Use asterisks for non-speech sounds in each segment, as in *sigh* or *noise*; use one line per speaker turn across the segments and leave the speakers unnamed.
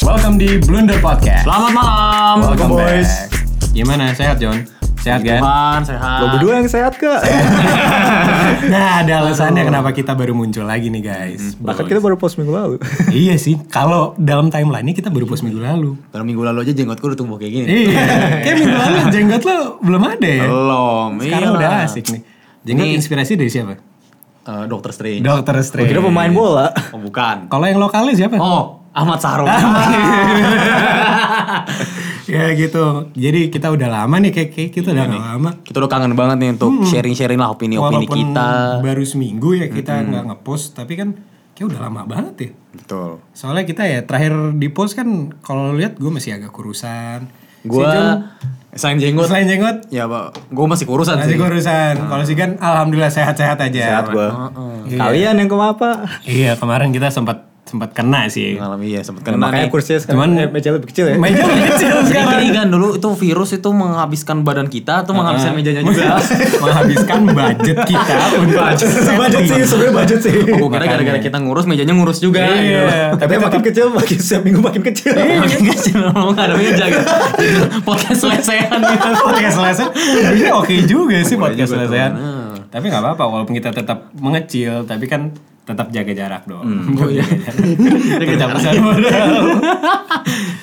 welcome di Blunder Podcast.
Selamat malam.
Welcome
boys.
back. Gimana sehat John? Sehat
Iya.
kan?
Tuhan, sehat.
Lo *laughs* berdua yang sehat kak? *laughs*
Nah, ada alasannya kenapa kita baru muncul lagi nih guys.
Bahkan kita baru post minggu lalu.
iya sih, kalau dalam timeline-nya kita baru post minggu lalu.
Baru minggu lalu aja jenggotku udah tumbuh kayak gini.
Iya, kayak minggu lalu jenggot lo belum ada ya.
Belum. Iya.
Sekarang
iyalah.
udah asik nih. Jenggot
Ini-
inspirasi dari siapa?
Eh, Dokter Strange.
Dokter Strange.
Kira pemain bola.
oh bukan.
Kalau yang lokalnya siapa?
Oh Ahmad
*laughs*
Sarung.
ya gitu. Jadi kita udah lama nih kayak, kayak kita udah nggak lama.
kita udah kangen banget nih untuk sharing-sharing lah opini-opini
Hmm. Walaupun
kita.
baru seminggu ya kita nggak ngepost, tapi kan kayak udah lama banget ya.
Betul.
Soalnya kita ya terakhir di post kan kalau lihat gue masih agak kurusan. si John,
Gua selain jenggot,
selain jenggot
ya pak, gue masih kurusan
masih
sih.
kurusan. Kalau si kan alhamdulillah sehat-sehat aja.
Ah. Sehat gua. Kalian yang kenapa?
Iya kemarin kita sempat sempat kena sih.
Malam iya sempet
Nah,
kena. nih.
makanya kursinya
Cuman-
sekarang eh, meja lebih kecil ya. *laughs*
Meja lebih kecil
Jadi
sekarang.
gini kan dulu itu virus itu menghabiskan badan kita atau
Iya,
menghabiskan mejanya juga.
*laughs* menghabiskan budget kita untuk
budget sih, sebenarnya budget sih.
Oh, gue kira gara-gara kita ngurus mejanya ngurus juga. gitu.
Iya.
Tapi makin kecil makin setiap minggu makin kecil.
Makin kecil mau nggak ada meja gitu. Podcast lesehan gitu.
podcast lesehan sebenarnya oke juga sih podcast
juga tuh.
lesehan tapi nggak apa-apa walaupun kita tetap mengecil tapi kan tetap *laughs* jaga jarak dong oh, iya. tetap pesan modal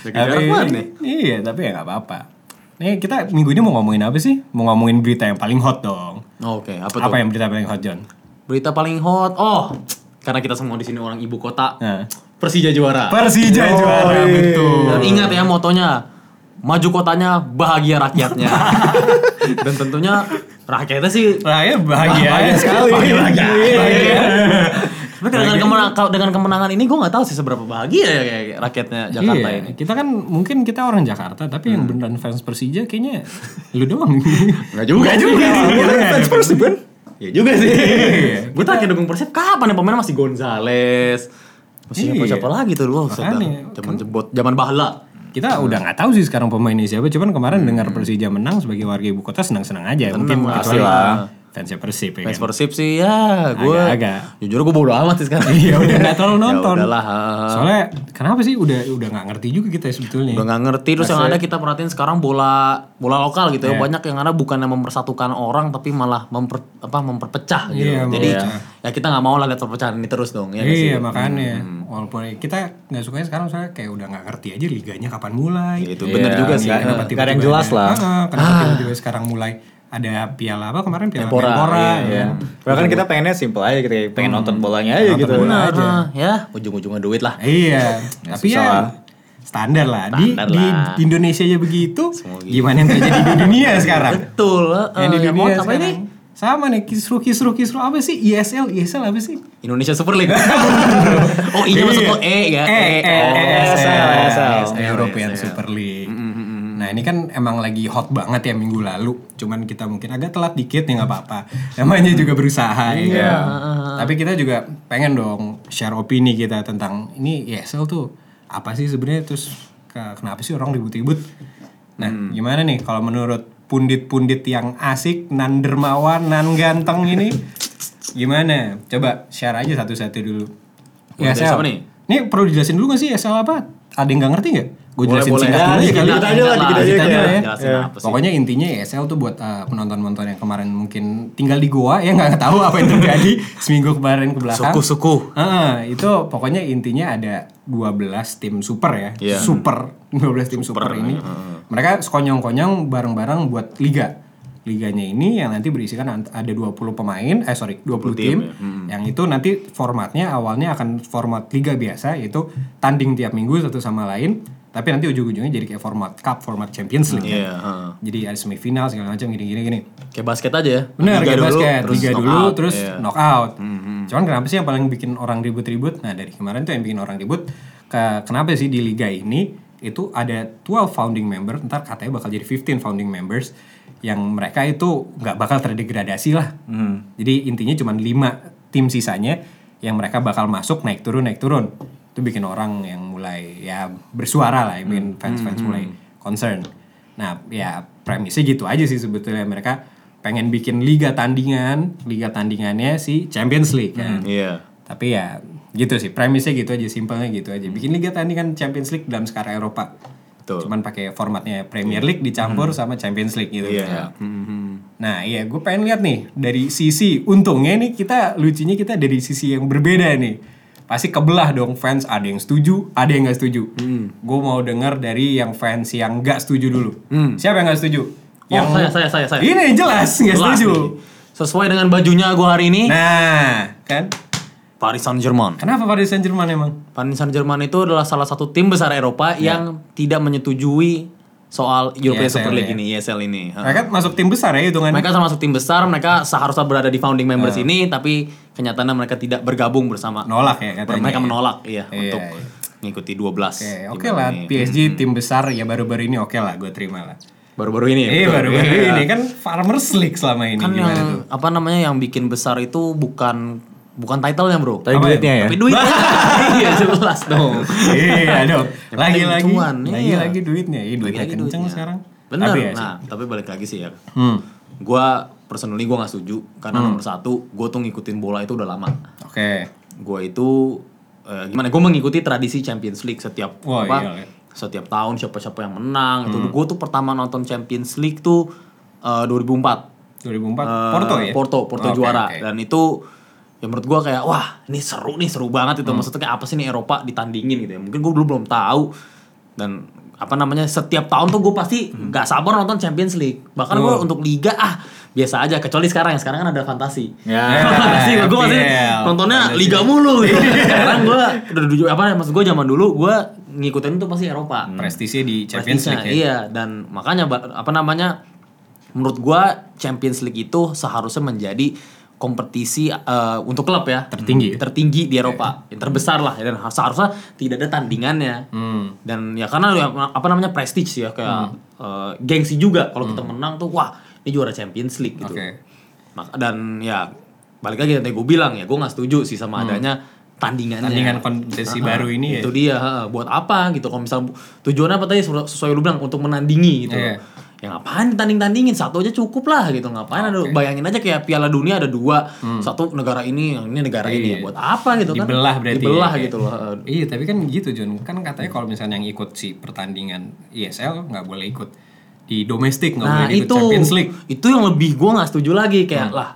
Jaga jarak mana?
iya tapi ya nggak apa-apa nih kita minggu ini mau ngomongin apa sih mau ngomongin berita yang paling hot dong
Oke, apa tuh?
apa yang berita paling hot John
Berita paling hot. Oh, karena kita semua di sini orang ibu kota.
Nah.
Ya.
Persija juara.
Persija juara
iya.
betul
Dan ingat ya motonya. Maju kotanya, bahagia
*laughs*
rakyatnya. Dan tentunya rakyatnya sih
Raya bahagia,
Bahagia sekali.
Bahagia, bahagia.
Iya.
Bahagia.
Tapi dengan, kemenang, kau- dengan kemenangan ini gue nggak tahu sih seberapa bahagia ya kayak rakyatnya Jakarta
Iya,
ini. Hmm.
Kita kan mungkin kita orang Jakarta, tapi yang beneran fans Persija kayaknya lu doang. *laughs*
Enggak juga. juga.
Iya, Fans Persib kan?
Ya juga sih.
Iya,
*laughs* gue terakhir dukung Persib kapan ya pemain masih Gonzales.
Iya.
Masih siapa, siapa lagi tuh lu?
Makanya. kan
Zaman jebot, zaman bahla.
kita
Hmm.
udah nggak tahu sih sekarang pemainnya siapa, cuman kemarin dengar Persija menang sebagai warga ibu kota senang-senang aja. Mungkin
lah,
kecuali
pasti lah.
fansnya Persib ya
Fans
kan.
Persib sih ya, gue
Agak-agak.
jujur gue bodo amat sih sekarang.
Iya udah nggak terlalu nonton.
*laughs* Ya udahlah. ha, ha.
Soalnya kenapa sih udah udah nggak ngerti juga kita sebetulnya.
Udah nggak ngerti terus yang ada kita perhatiin sekarang bola bola lokal
Iya.
gitu ya. Banyak yang ada bukan yang mempersatukan orang tapi malah memper, apa memperpecah gitu.
Iya,
Jadi
memperpecah.
ya kita nggak mau lah lihat perpecahan ini terus dong ya. nggak sih? Hmm.
Iya makanya walaupun kita nggak sukanya sekarang soalnya kayak udah nggak ngerti aja liganya kapan mulai.
Ya, itu bener juga sih.
Iya, kenapa
Nggak
tiba-tiba
ada yang jelas lah.
Ah, kenapa tiba-tiba sekarang mulai ada piala apa kemarin piala
Menpora,
ya.
iya,
Bahkan kan kita pengennya simple aja gitu, kayak pengen nonton bolanya aja gitu.
Benar, ah, ya ujung-ujungnya duit lah.
Iya, tapi ya
susah lah.
standar lah. Di,
Standar
di
lah.
di Indonesia aja begitu. Gimana yang terjadi di dunia sekarang?
Betul. eh,
Yang di
ya,
dunia
mau apa ini?
sekarang. Sama nih kisruh kisruh kisruh apa sih ISL ISL apa sih?
Indonesia Super League. oh, ini masuk ke E ya.
E, E,
oh.
ESL,
ESL.
European ya,
ya.
Super League. Nah ini kan emang lagi hot banget ya minggu lalu. Cuman kita mungkin agak telat dikit ya nggak
*laughs*
apa-apa. Namanya juga berusaha
Iya.
ya. kan? Tapi kita juga pengen dong share opini kita tentang ini ESL tuh apa sih sebenarnya terus ke- kenapa sih orang ribut-ribut? Nah
Hmm.
gimana nih kalau menurut pundit-pundit yang asik, nan dermawan, nan ganteng ini gimana? Coba share aja satu-satu dulu.
Mulai dari
ESL.
siapa nih?
Ini perlu dijelasin dulu gak sih ESL apa? Ada yang gak ngerti gak? Gue jelasin
boleh. Nah,
singkat dulu
Ya,
ya
dikit
kali.
dikit aja lah, dikit aja
Dikit aja
kayak-
ya.
Jelasin
ya.
apa sih?
Pokoknya intinya ESL tuh buat eh, penonton-penonton yang kemarin mungkin tinggal di goa ya nggak tahu apa yang
*laughs*
terjadi seminggu kemarin ke belakang.
Suku-suku.
Heeh, itu pokoknya intinya ada 12 tim super ya.
Iya.
Super. 12 tim super, ini. Mereka sekonyong-konyong bareng-bareng buat liga. Liganya ini yang nanti berisikan ant- ada 20 pemain, eh sorry, 20 tim. Yang itu nanti formatnya awalnya akan format liga biasa yaitu tanding tiap minggu satu sama lain, tapi nanti ujung-ujungnya jadi kayak format cup, format Champions League.
Iya,
kan.
heeh.
Jadi ada semifinal segala macam gini-gini gini.
Kayak basket aja ya.
Bener, kayak basket.
terus
Liga dulu,
knockout.
terus
Iya.
knockout. Cuman kenapa sih yang paling bikin orang ribut-ribut? Nah, dari kemarin tuh yang bikin orang ribut, ke- kenapa sih di Liga ini itu ada 12 founding member, ntar katanya bakal jadi 15 founding members, yang mereka itu nggak bakal terdegradasi lah.
Mm-hmm.
Jadi intinya cuma 5 tim sisanya yang mereka bakal masuk naik turun naik turun. Itu bikin orang yang mulai ya bersuara lah, yang bikin
Mm-hmm.
fans-fans mulai concern. Nah, ya premisnya gitu aja sih sebetulnya mereka pengen
Mm-hmm.
bikin liga tandingan, liga tandingannya si Champions League kan.
Iya.
Tapi ya Gitu sih, premisnya gitu aja, simpelnya gitu aja. Bikin Liga tadi kan Champions League dalam skala Eropa.
Betul. Mm-hmm.
Cuman pakai formatnya Premier League dicampur sama Champions League gitu.
Iya.
Nah, iya gue pengen lihat nih dari sisi untungnya nih kita lucunya kita dari sisi yang berbeda nih. Pasti kebelah dong fans ada yang setuju, ada yang nggak setuju.
Hmm.
Gue mau dengar dari yang fans yang nggak setuju dulu. Siapa yang nggak setuju? yang
Hmm. Oh, saya, saya, saya, saya.
Ini jelas nggak
Jelas
setuju.
nih. Sesuai dengan bajunya gue hari ini,
Nah, kan?
Paris Saint-Germain.
Kenapa Paris Saint-Germain emang?
Paris Saint-Germain itu adalah salah satu tim besar Eropa yang tidak menyetujui soal European
ESL
Super League
ya.
ini, ESL ini. Ha.
Mereka masuk tim besar ya hitungannya.
Ah. Mereka termasuk tim besar, mereka seharusnya berada di founding members
Iya.
ini, tapi kenyataannya mereka tidak bergabung bersama.
Nolak ya katanya.
mereka
ya.
menolak, iya,
Iya,
untuk
iya.
mengikuti 12.
Oke,
tim
oke lah.
ini.
PSG tim besar ya baru-baru ini oke lah gue terima lah.
Baru-baru ini. ya,
Eh
betul.
baru-baru
Iya.
ini kan Farmers League selama ini
kan yang
gimana tuh?
apa namanya yang bikin besar itu bukan bukan title-nya, Bro.
Tapi
Apa ya?
duitnya ya.
Tapi
*laughs*
duit. iya, jelas dong.
iya dong.
Yang penting
Lagi-lagi
cuan, iya.
lagi-lagi duitnya. Iya duitnya
Lagi-lagi
kenceng
duitnya.
sekarang.
Bener.
Tapi ya sih.
nah, tapi balik lagi sih ya.
Hmm.
Gua personally gua nggak setuju karena nomor satu, gua tuh ngikutin bola itu udah lama.
Oke.
Gua itu eh, gimana? Gua mengikuti tradisi Champions League setiap
Wah,
apa?
iya, Hmm. iya.
Setiap tahun siapa-siapa yang menang. Itu gua tuh pertama nonton Champions League tuh eh, 2004.
2004
Eh,
Porto ya?
Porto, Porto
Oke,
juara.
oke.
Dan itu ya menurut gua kayak wah, ini seru nih, seru banget
Hmm.
itu. Maksudnya kayak apa sih nih Eropa ditandingin gitu ya. Mungkin gua dulu belum tahu dan apa namanya setiap tahun tuh gue pasti
Hmm.
nggak sabar nonton Champions League bahkan
Oh.
gua untuk liga ah biasa aja kecuali sekarang yang sekarang kan ada fantasi *laughs*
Ya.
fantasi gue masih
FPL.
nontonnya liga
*laughs*
mulu gitu. sekarang gue apa ya maksud gue zaman dulu gue ngikutin tuh pasti Eropa
Prestisnya di Champions
Prestisnya,
League ya.
Iya, dan makanya ba- apa namanya? Menurut gua Champions League itu seharusnya menjadi kompetisi eh, untuk klub ya
Tertinggi.
tertinggi di Eropa yang terbesar lah dan seharusnya tidak ada tandingannya
Hmm.
dan ya karena ya, apa namanya prestige ya kayak eh, gengsi juga kalau kita menang tuh wah ini juara Champions League gitu
Hmm. Oke.
Mak- dan ya balik lagi tadi gue bilang ya gue nggak setuju sih sama adanya tandingannya
Hmm. Tandingan kompetisi baru ini ya.
itu dia ha, buat apa gitu kalau misal tujuannya apa tadi sesu- sesuai lu bilang untuk menandingi gitu
Iya.
ya ngapain tanding tandingin satu aja cukup lah gitu ngapain ada bayangin aja kayak Piala Dunia ada dua satu negara ini yang ini negara ini
Hmm. Iya.
buat apa gitu kan
Dibelah berarti
dibelah
ya,
gitu loh ha.
Iya, tapi kan gitu Jun. Kan katanya kalau misalnya yang ikut si pertandingan ESL nggak boleh ikut di domestik, nggak
nah
boleh ikut
itu
Champions League. Hmm.
itu yang lebih gue nggak setuju lagi kayak lah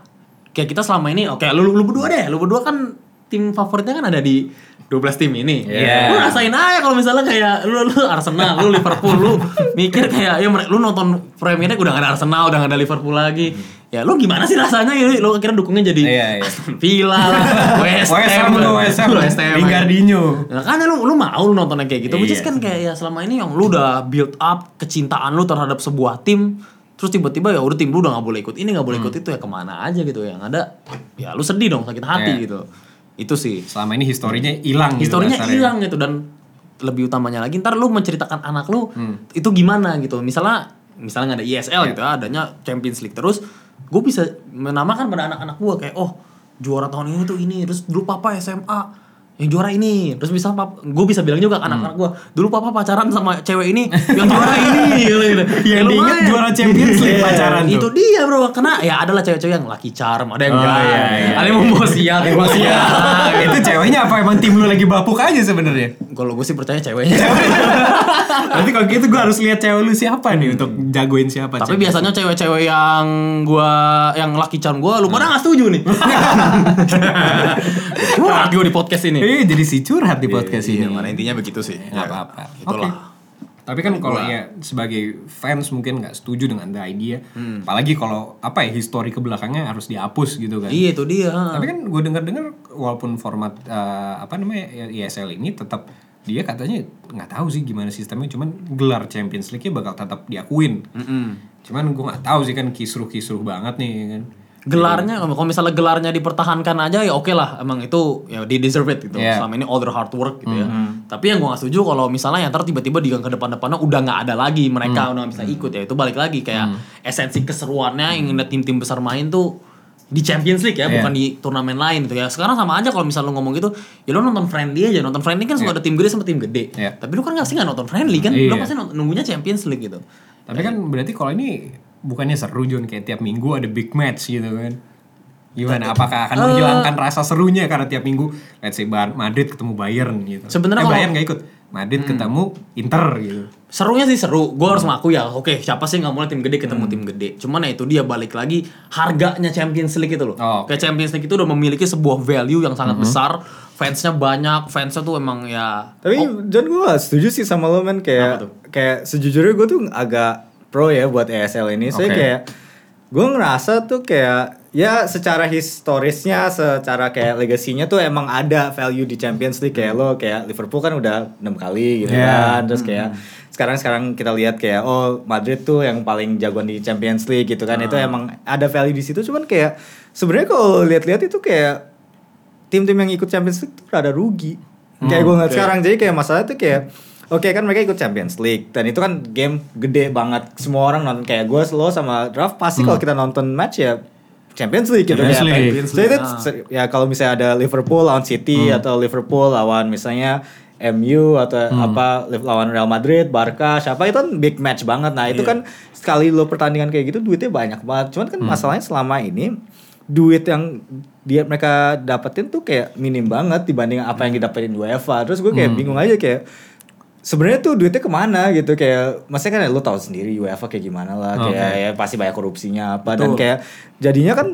kayak kita selama ini oke lu, lu berdua deh lu berdua kan tim favoritnya kan ada di 12 tim ini
Iya.
lu rasain aja kalau misalnya kayak lu, lu Arsenal lu Liverpool lu mikir kayak ya mere- lu nonton Premier League udah gak ada Arsenal udah gak ada Liverpool lagi ya lu gimana sih rasanya ya, lu akhirnya dukungnya jadi
Hmm. Iya, iya.
Aston Villa
*laughs*
lah West
West
Ham
Ham tuh, West Ham.
West Ham
Lingardinho.
Nah, kan lu lu mau lu nontonnya kayak gitu, which is kan kayak ya selama ini yang lu udah build up kecintaan lu terhadap sebuah tim, terus tiba-tiba ya udah tim lu udah nggak boleh ikut ini nggak boleh ikut itu ya kemana aja gitu yang ada ya lu sedih dong sakit hati
Iya.
gitu itu sih
Selama ini historinya hilang. gitu
historinya
dasarnya.
hilang gitu dan lebih utamanya lagi ntar lu menceritakan anak lu
Hmm.
itu gimana gitu misalnya misalnya nggak ada ISL
Iya.
gitu adanya Champions League terus gue bisa menamakan pada anak-anak gue kayak oh juara tahun ini tuh ini terus dulu papa SMA yang juara ini terus bisa gue bisa bilang juga ke
Hmm.
anak-anak gue dulu papa pacaran sama cewek ini yang
*laughs*
juara ini gitu, gitu.
Yang
Ya,
diinget
lumayan.
juara Champions League
Iya,
pacaran tuh.
itu dia bro karena ya adalah cewek-cewek yang laki charm ada
Oh,
yang enggak
iya, iya.
ada yang membawa sial
Eh, gua sih ya. *laughs* itu ceweknya apa emang tim lu lagi bapuk aja sebenarnya?
kalau gue sih percaya ceweknya
*laughs* Nanti kalau gitu gue harus lihat cewek lu siapa nih untuk jagoin siapa.
Hmm. Tapi
gitu.
cewek.
biasanya cewek-cewek yang gua yang laki charm gua lu
Hmm.
pada nggak setuju
*laughs*
nih. Curhat gua di podcast ini.
Eh jadi si curhat di podcast
Iya,
ini.
mana intinya begitu sih.
Nggak apa-apa.
Itulah.
Oke. Tapi kan kalau ya sebagai fans mungkin nggak setuju dengan the idea.
Hmm.
Apalagi kalau apa ya histori kebelakangnya harus dihapus gitu kan.
Iya itu dia.
Tapi kan gue dengar-dengar walaupun format eh, apa namanya ESL ini tetap dia katanya nggak tahu sih gimana sistemnya, cuman gelar Champions League-nya bakal tetap diakuin. Cuman gue nggak tahu sih kan kisruh-kisruh banget nih kan.
Gelarnya kalau misalnya gelarnya dipertahankan aja ya oke lah emang itu ya di deserve it gitu.
Iya.
Selama ini all the hard work gitu ya. Tapi yang gua nggak setuju kalau misalnya yang ntar tiba-tiba di ke depan-depannya udah nggak ada lagi mereka udah nggak bisa ikut ya itu balik lagi kayak esensi keseruannya yang ngeliat tim-tim besar main tuh di Champions League ya, bukan di turnamen lain tuh ya. Sekarang sama aja kalau misal lu ngomong gitu, ya lu nonton friendly aja. Nonton friendly kan suka ada tim gede sama tim gede.
Iya.
Tapi lu kan nggak sih nggak nonton friendly kan?
Iya.
Lu pasti nont- nunggunya Champions League gitu.
Tapi kan berarti kalau ini bukannya seru John kayak tiap minggu ada big match gitu kan.
Nah,
Gimana? Apakah akan
eh,
menghilangkan rasa serunya karena tiap minggu let's say Bar- Madrid ketemu Bayern gitu. eh,
Sebenarnya kalau- Hmm.
Bayern nggak ikut. Madrid ketemu Inter gitu.
serunya sih seru gue harus ngaku ya oke siapa sih nggak mau tim gede
Hmm.
ketemu tim gede cuman ya itu dia balik lagi harganya Champions League itu loh
Oh, oke. Hmm.
kayak Champions League itu udah memiliki sebuah value yang sangat besar fansnya banyak fansnya tuh emang ya
Tapi John gue gak setuju sih sama lo
Kenapa tuh?
men kayak kayak sejujurnya gue tuh agak pro ya buat ESL ini. Saya
Oke.
kayak gue ngerasa tuh kayak ya secara historisnya, secara kayak legasinya tuh emang ada value di Champions League kayak lo kayak Liverpool kan udah enam kali gitu
Yeah.
kan. Terus kayak
Hmm.
sekarang sekarang kita lihat kayak oh Madrid tuh yang paling jagoan di Champions League gitu kan. Itu
Ah.
emang ada value di situ cuman kayak sebenarnya kalau lihat-lihat itu kayak tim-tim yang ikut Champions League tuh rada rugi.
Hmm,
kayak gue ngeliat
oke.
sekarang jadi kayak masalah tuh kayak oke kan mereka ikut Champions League dan itu kan game gede banget semua orang nonton kayak gue lo sama draft pasti kalau kita nonton match ya Champions League gitu
Hmm. Champions
kayak
League.
Champions League. Jadi itu se- ya kalau misalnya ada Liverpool lawan City atau Liverpool lawan misalnya MU atau apa Liv- lawan Real Madrid, Barca, siapa itu kan big match banget. Nah, itu kan sekali lo pertandingan kayak gitu duitnya banyak banget. Cuman kan masalahnya selama ini duit yang dia mereka dapetin tuh kayak minim banget dibanding apa yang didapetin UEFA. Terus gue kayak bingung aja kayak sebenarnya tuh duitnya kemana gitu kayak maksudnya kan ya lo tahu sendiri UEFA kayak gimana lah
Oke.
kayak ya pasti banyak korupsinya apa dan
Betul.
kayak jadinya kan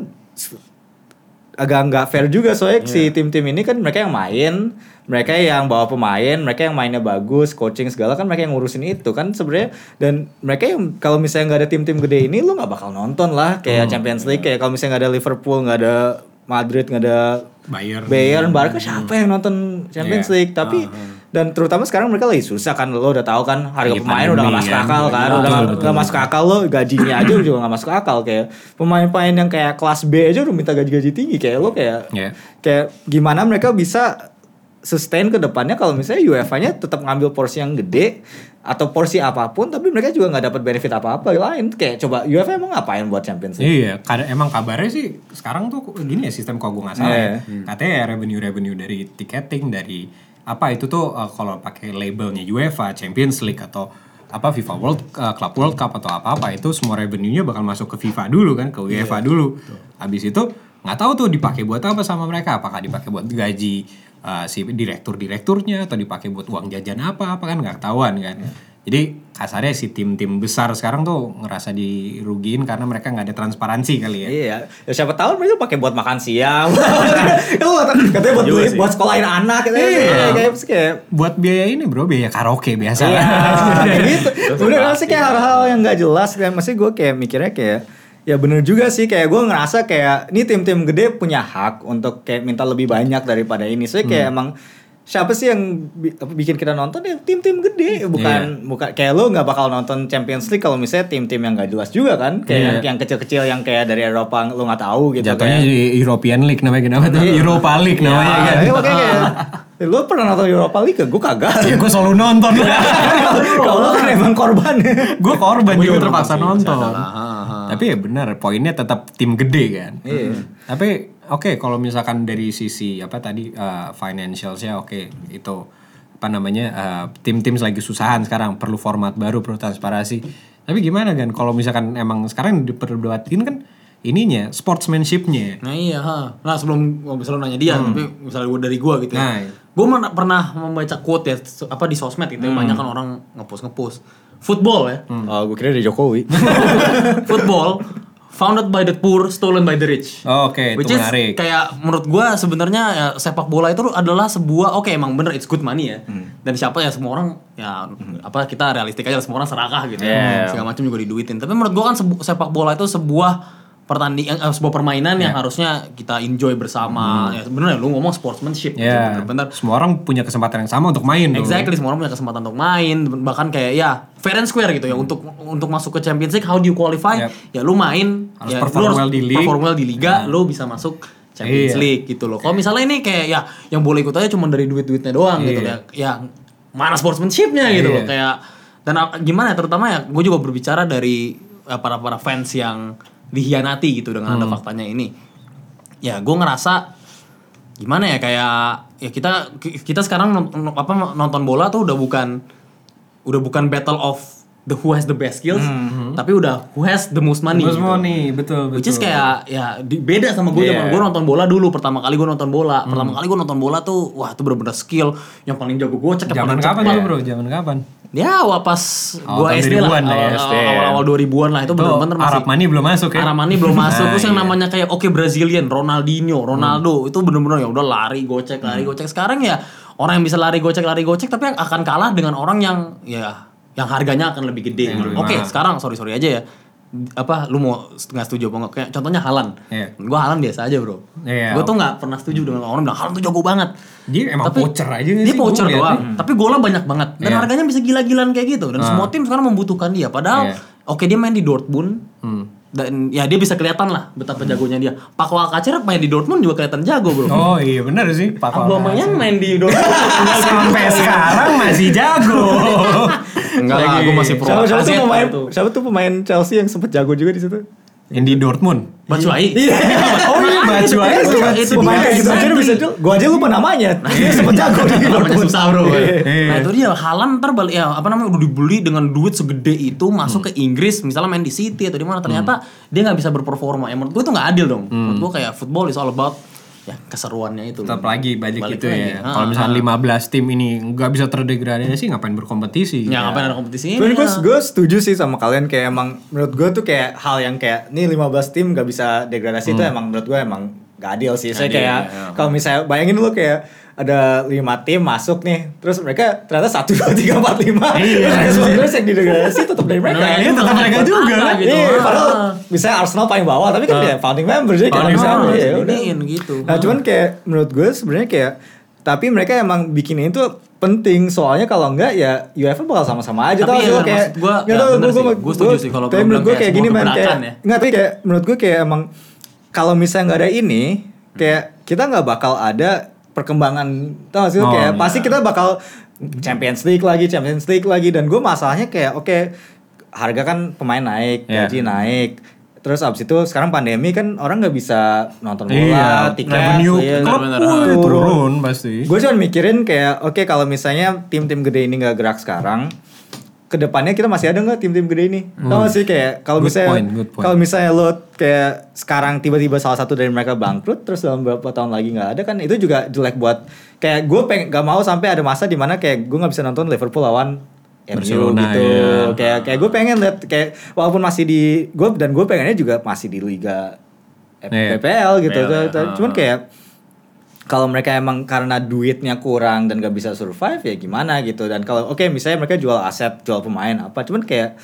agak nggak fair juga soalnya si tim-tim ini kan mereka yang main, mereka yang bawa pemain, mereka yang mainnya bagus, coaching segala kan mereka yang ngurusin itu kan sebenarnya dan mereka yang kalau misalnya nggak ada tim-tim gede ini lu nggak bakal nonton lah kayak Champions League kayak kalau misalnya nggak ada Liverpool, nggak ada Madrid, nggak ada
Bayern. Hmm.
Bayern, Barca siapa yang nonton Champions
Iya.
League tapi dan terutama sekarang mereka lagi susah kan lo udah tahu kan harga
Lagi
pemain udah gak
pandemi
masuk
kan.
akal kan
Betul,
udah nggak-
betul.
nggak masuk akal lo gajinya
*clears throat*
aja juga gak masuk akal kayak pemain-pemain yang kayak kelas B aja udah minta gaji-gaji tinggi kayak lo kayak
Iya.
kayak gimana mereka bisa sustain ke depannya kalau misalnya UEFA-nya tetap ngambil porsi yang gede atau porsi apapun tapi mereka juga nggak dapat benefit apa-apa lain kayak coba UEFA emang ngapain buat Champions League?
Iya, kad- emang kabarnya sih sekarang tuh gini ya sistem kalau gue nggak salah.
Iya.
ya. Katanya ya revenue-revenue dari tiketing dari apa itu tuh eh, kalau pakai labelnya UEFA, Champions League atau apa FIFA World eh, Club World Cup atau apa-apa itu semua revenue-nya bakal masuk ke FIFA dulu kan, ke
Iya,
UEFA dulu. Habis itu nggak tahu tuh dipakai buat apa sama mereka, apakah dipakai buat gaji eh, si direktur-direkturnya atau dipakai buat uang jajan apa, apa kan nggak ketahuan kan.
Iya.
Jadi kasarnya si tim-tim besar sekarang tuh ngerasa dirugiin karena mereka nggak ada transparansi kali ya.
Iya, ya siapa tahu mereka pakai buat makan *laughs* siang. katanya buat beli, buat sekolahin anak katanya. Iya, kayak kayak
Buat biaya ini bro, biaya karaoke biasa.
Iya,
*laughs*
kayak gitu.
Terus
Bener
pasti.
sih kayak hal-hal yang nggak jelas kan. Masih gue kayak mikirnya kayak ya bener juga sih kayak gue ngerasa kayak ini tim-tim gede punya hak untuk kayak minta lebih banyak daripada ini. Soalnya kayak emang siapa sih yang bi- apa, bikin kita nonton ya tim-tim gede bukan bukan kayak lo nggak bakal nonton Champions League kalau misalnya tim-tim yang nggak jelas juga kan kayak
Iya.
yang, yang kecil-kecil yang kayak dari Eropa lo nggak tahu gitu
Jatuhnya
kayak.
di European League namanya kenapa
Iya.
tuh? Europa League namanya
Ah,
kan.
iya, makanya kayak, lo pernah nonton Europa League gak? Gue kagak.
Ya, gue selalu nonton.
Iya.
*laughs*
Kalau lo kan emang korban.
gue korban
Gua
juga
juga
terpaksa
nonton sih,
nonton.
bercanda lah. Ha, ha.
Tapi ya benar, poinnya tetap tim gede kan.
Iya.
Tapi oke kalau misalkan dari sisi apa tadi eh, financialsnya oke itu apa namanya eh, tim-tim lagi susahan sekarang perlu format baru perlu transparansi. Tapi gimana kan kalau misalkan emang sekarang diperdebatin kan ininya sportsmanshipnya.
Nah iya, ha. nah sebelum sebelum nanya dia, tapi misalnya gue dari gue gitu. Ya.
Hmm. Nah, iya.
Gue mana- pernah membaca quote ya, se- apa di sosmed gitu, ya,
Hmm.
banyak kan orang ngepost ngepost. Football ya,
Oh, gue kira dari Jokowi.
*laughs* football founded by the poor, stolen by the rich.
Oke,
Which
itu
is
menarik.
kayak menurut gua sebenarnya ya, sepak bola itu adalah sebuah oke emang bener it's good money ya.
Hmm.
Dan siapa ya semua orang ya apa kita realistik aja semua orang serakah gitu.
Yeah.
Segala macam juga diduitin. Tapi menurut gua kan sebu- sepak bola itu sebuah pertandingan eh, sebuah permainan yang harusnya kita enjoy bersama.
Hmm.
Ya bener ya lu ngomong sportsmanship gitu,
Ya,
bener-bener.
semua orang punya kesempatan yang sama untuk main. tuh.
Exactly, semua orang punya kesempatan untuk main, bahkan kayak ya fair and square gitu ya untuk untuk masuk ke Champions League how do you qualify?
Yep.
Ya lu main,
Harus
ya,
perform
lu
well di league. Nah.
perform well di liga, lu bisa masuk
Iya.
Champions League gitu loh. Kalau misalnya ini kayak ya yang boleh ikut aja cuma dari duit-duitnya doang gitu
Iya.
ya. Ya mana sportsmanshipnya gitu
Iya.
loh kayak dan ap- gimana ya, terutama ya gue juga berbicara dari ya, para para fans yang dihianati gitu
Hmm.
dengan ada faktanya ini. Ya gue ngerasa gimana ya kayak ya kita kita sekarang non- non- apa nonton bola tuh udah bukan udah bukan battle of the who has the best skills, tapi udah who has the most money.
Terus
gitu.
mau nih, betul Hmm. betul.
Which is kayak ya di- beda sama gue
Yeah.
zaman gue nonton bola dulu pertama kali gue nonton bola pertama
Hmm.
kali gue nonton bola tuh wah itu bener-bener skill yang paling jago gue cek yang
zaman
paling
kapan
cepat.
tuh bro? Zaman kapan?
ya awal pas gue
Awal tahun
SD lah
2000-an lah ya,
awal-
SD.
awal awal 2000-an lah itu
Itu
bener-bener masih
Arab Money belum masuk ya?
Armani
*laughs*
belum masuk
Nah,
terus yang
iya. Hmm.
namanya kayak oke Brazilian Ronaldinho Ronaldo itu bener-bener ya udah lari gocek lari gocek sekarang ya orang yang bisa lari gocek lari gocek tapi akan kalah dengan orang yang ya yang harganya akan lebih gede
Yang lebih
oke
mahal.
sekarang sorry sorry aja ya apa lu mau nggak setuju apa nggak kayak contohnya Halan
Iya.
gue Halan biasa aja bro
Iya,
gue tuh nggak pernah setuju dengan orang bilang Halan tuh jago banget
Dia emang voucher aja nggak
dia
sih? Gua
voucher
liatnya.
doang tapi golnya banyak banget dan
Iya. Ah.
harganya bisa gila-gilaan kayak gitu dan semua tim sekarang membutuhkan dia
Iya.
padahal
Hmm.
oke dia main di Dortmund dan ya dia bisa kelihatan lah betapa jagonya dia Paco Alcacer main di Dortmund juga kelihatan jago bro
Oh iya benar sih. Pak
Aubameyang main di Dortmund *laughs*
sampai sekarang masih jago.
Enggak lah,
Lagi.
gua masih pro.
Siapa, siapa tuh
Kaset
pemain?
itu.
Siapa tuh pemain Chelsea yang sempat jago juga di situ?
Yang di Dortmund.
Bacuai
Oh iya bacu aja
Itu-
sempat
itu
sih.
dia.
Pemain kayak gitu aja lu
Santi.
bisa jual. Gua aja lupa namanya. Dia sempat jago
*laughs*
di
Namanya
Dortmund.
susah bro.
Iya.
Nah itu dia Halan ntar balik ya apa namanya udah dibeli dengan duit segede itu masuk ke Inggris misalnya main di City atau di mana ternyata dia nggak bisa berperforma. Ya menurut gue itu nggak adil dong. Menurut gue kayak football is all about ya keseruannya itu.
Tetap lagi balik, itu
lagi. Ah.
ya.
Ha,
Kalau
ha.
misalnya 15 tim ini nggak bisa terdegradasi ngapain berkompetisi? Iya.
ya ngapain ada kompetisi?
Cuman gue, gue setuju sih sama kalian kayak emang menurut gue tuh kayak hal yang kayak nih 15 tim gak bisa degradasi
Hmm.
itu emang menurut gue emang gak adil sih.
Adil,
Saya kayak
iya,
ya.
kalau misalnya bayangin lu kayak ada lima tim masuk nih, terus mereka ternyata satu dua tiga empat lima,
Iya,
terus
anjir.
semua terus yang didegradasi tetap dari mereka.
Nah, iya, tetap
Buat
mereka
apa
juga. kan? Nah.
gitu.
Iya,
Ah.
padahal misalnya Arsenal paling bawah tapi kan dia founding member jadi kayak
Founding
bisa
member,
ya
jadi
udah.
iniin gitu.
Nah,
Ah.
cuman kayak menurut gue sebenarnya kayak tapi mereka emang bikin itu penting soalnya kalau enggak ya UEFA bakal sama-sama aja
Tapi ya,
tau sih,
maksud
kayak
gua, ya
nggak tau,
bener
gua-
sih,
gua-
gua setuju
gua-
sih kalau
tapi
bilang
menurut gue
kayak
kayak
semua
gini man kayak
keberatan ya.
nggak tapi kayak menurut gue kayak emang kalau misalnya nggak ada ini kayak kita nggak bakal ada perkembangan tau gak sih lu,
Oh, iya.
kayak pasti kita bakal Champions League lagi Champions League lagi dan gue masalahnya kayak oke harga kan pemain naik
Iya.
gaji naik terus abis itu sekarang pandemi kan orang nggak bisa nonton
Iya,
bola tiket
revenue
iya.
klub
benar-benar.
woi,
Turun.
turun pasti.
Gue cuma mikirin kayak oke kalau misalnya tim-tim gede ini nggak gerak sekarang, kedepannya kita masih ada nggak tim-tim gede ini? Tau gak sih kayak kalau
Hmm. Good
misalnya
point, good point.
kalau misalnya lo kayak sekarang tiba-tiba salah satu dari mereka bangkrut, terus dalam beberapa tahun lagi nggak ada kan itu juga jelek buat kayak gue pengen gak mau sampai ada masa dimana kayak gue nggak bisa nonton Liverpool lawan MU
Barcelona,
gitu
ya.
kayak kayak gue pengen lihat kayak walaupun masih di gue dan gue pengennya juga masih di liga F-
Iya.
BPL gitu
BPL, ya.
cuman kayak kalau mereka emang karena duitnya kurang dan gak bisa survive ya gimana gitu dan kalau oke misalnya mereka jual aset jual pemain apa cuman kayak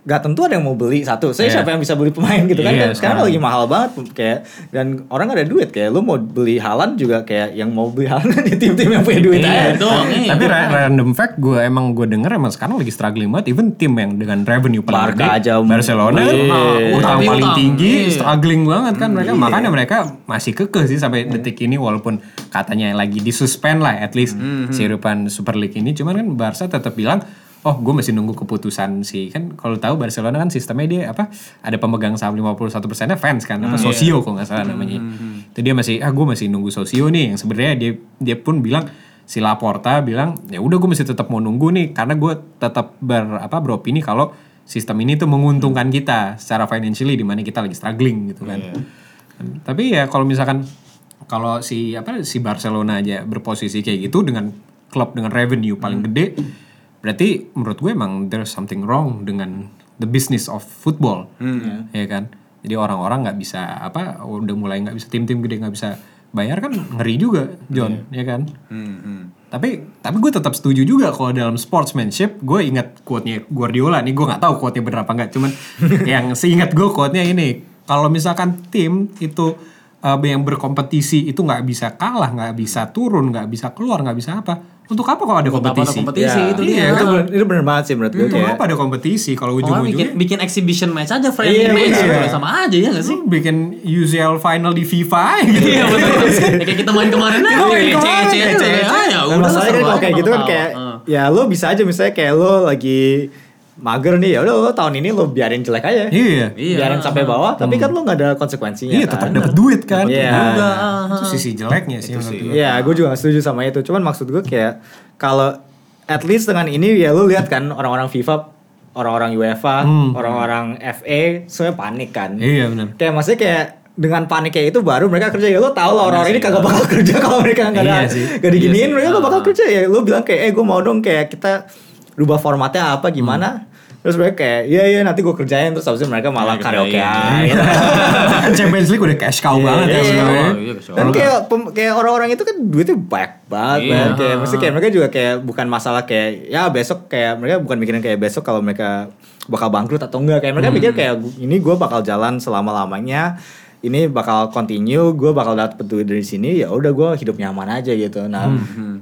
gak tentu ada yang mau beli satu saya
Iya.
siapa yang bisa beli pemain gitu kan
Iya,
Kan sekarang
sekarang.
lagi mahal banget kayak dan orang gak ada duit kayak lu mau beli halan juga kayak yang mau beli halan *laughs* di tim-tim yang punya duit
Iya,
aja
itu. Iya.
Tapi ra- random fact gue emang gue denger emang sekarang lagi struggling banget even tim yang dengan revenue paling
Barca aja, um, iya.
Barcelona
wih.
utang
Tapi
paling
utang,
tinggi
iya.
struggling banget kan mereka
Iya.
makanya mereka masih kekeh sih sampai detik ini walaupun katanya lagi disuspend lah at least
Mhm.
sihirupan Super League ini cuman kan Barca tetap bilang Oh, gue masih nunggu keputusan sih kan. Kalau tahu Barcelona kan sistemnya dia apa? Ada pemegang saham 51 persennya fans kan,
Mhm.
apa
Iya.
sosio kalau nggak salah namanya. Itu dia masih, ah gue masih nunggu sosio nih. Yang sebenarnya dia dia pun bilang si Laporta bilang ya udah gue mesti tetap mau nunggu nih karena gue tetap ber apa beropini kalau sistem ini tuh menguntungkan kita secara financially di mana kita lagi struggling gitu kan. Tapi ya kalau misalkan kalau si apa si Barcelona aja berposisi kayak gitu dengan klub dengan revenue paling gede berarti menurut gue emang there's something wrong dengan the business of football ya kan jadi orang-orang nggak bisa apa udah mulai nggak bisa tim-tim gede nggak bisa bayar kan ngeri juga John ya kan tapi tapi gue tetap setuju juga kalau dalam sportsmanship gue ingat quote-nya Guardiola nih gue nggak tahu quote-nya bener apa nggak cuman yang seingat gue quote-nya ini kalau misalkan tim itu uh, yang berkompetisi itu nggak bisa kalah nggak bisa turun nggak bisa keluar nggak bisa apa untuk apa kalau ada
Buat apa ada
kompetisi
kompetisi
Ya.
itu
Iya,
dia.
itu bener, itu bener banget sih menurut gue
untuk
kayak
apa ada kompetisi kalau
Orang bikin,
ujung-ujungnya
bikin exhibition match aja friendly
Iya,
match
iya.
udah sama aja ya nggak sih?
lu bikin UCL final di FIFA aja gitu
Iya betul. Ya, Kayak kita main kemarin aja.
Kita main
Ece,
kemarin,
ece,
ece,
ece.
ece.
Ah, ya
Nah,
udah,
masalahnya kan
seru
kalau
aja Ah.
kayak gitu kan
tahu.
kayak
Heeh.
ya lo bisa aja misalnya kayak lo lagi mager nih ya udah lo tahun ini lo biarin jelek aja.
*laughs* iya
Iya.
Biarin sampai bawah tapi kan lo nggak ada konsekuensinya.
iya tetap
kan?
dapat duit kan
Iya.
Udah. itu sisi jeleknya sih menurut gue
Iya, gue juga gak setuju sama itu. Cuman maksud gue kayak kalau at least dengan ini ya lo lihat kan orang-orang FIFA orang-orang UEFA, orang-orang FA semuanya panik kan.
Iya benar.
Kayak maksudnya kayak dengan panik kayak itu baru mereka kerja ya lo tau lah orang-orang ini kagak bakal kerja kalau mereka nggak ada
Iya sih. Ah.
nggak diginiin mereka nggak bakal kerja ya lo bilang kayak eh gue mau dong kayak kita rubah formatnya apa gimana
Hmm.
terus mereka kayak iya iya nanti gue kerjain terus habis itu mereka malah
Nah,
Ya,
karaoke
kerjain.
iya.
*laughs*
*laughs* Champions League udah cash cow banget ya
iya,
sebenarnya.
iya, cash cow.
Dan kayak pem- kayak orang-orang itu kan duitnya banyak banget,
Iya.
man. kayak mesti kayak mereka juga kayak bukan masalah kayak ya besok kayak mereka bukan mikirin kayak besok kalau mereka bakal bangkrut atau enggak kayak mereka mikir kayak ini gue bakal jalan selama lamanya ini bakal continue gue bakal dapet duit dari sini ya udah gue hidup nyaman aja gitu nah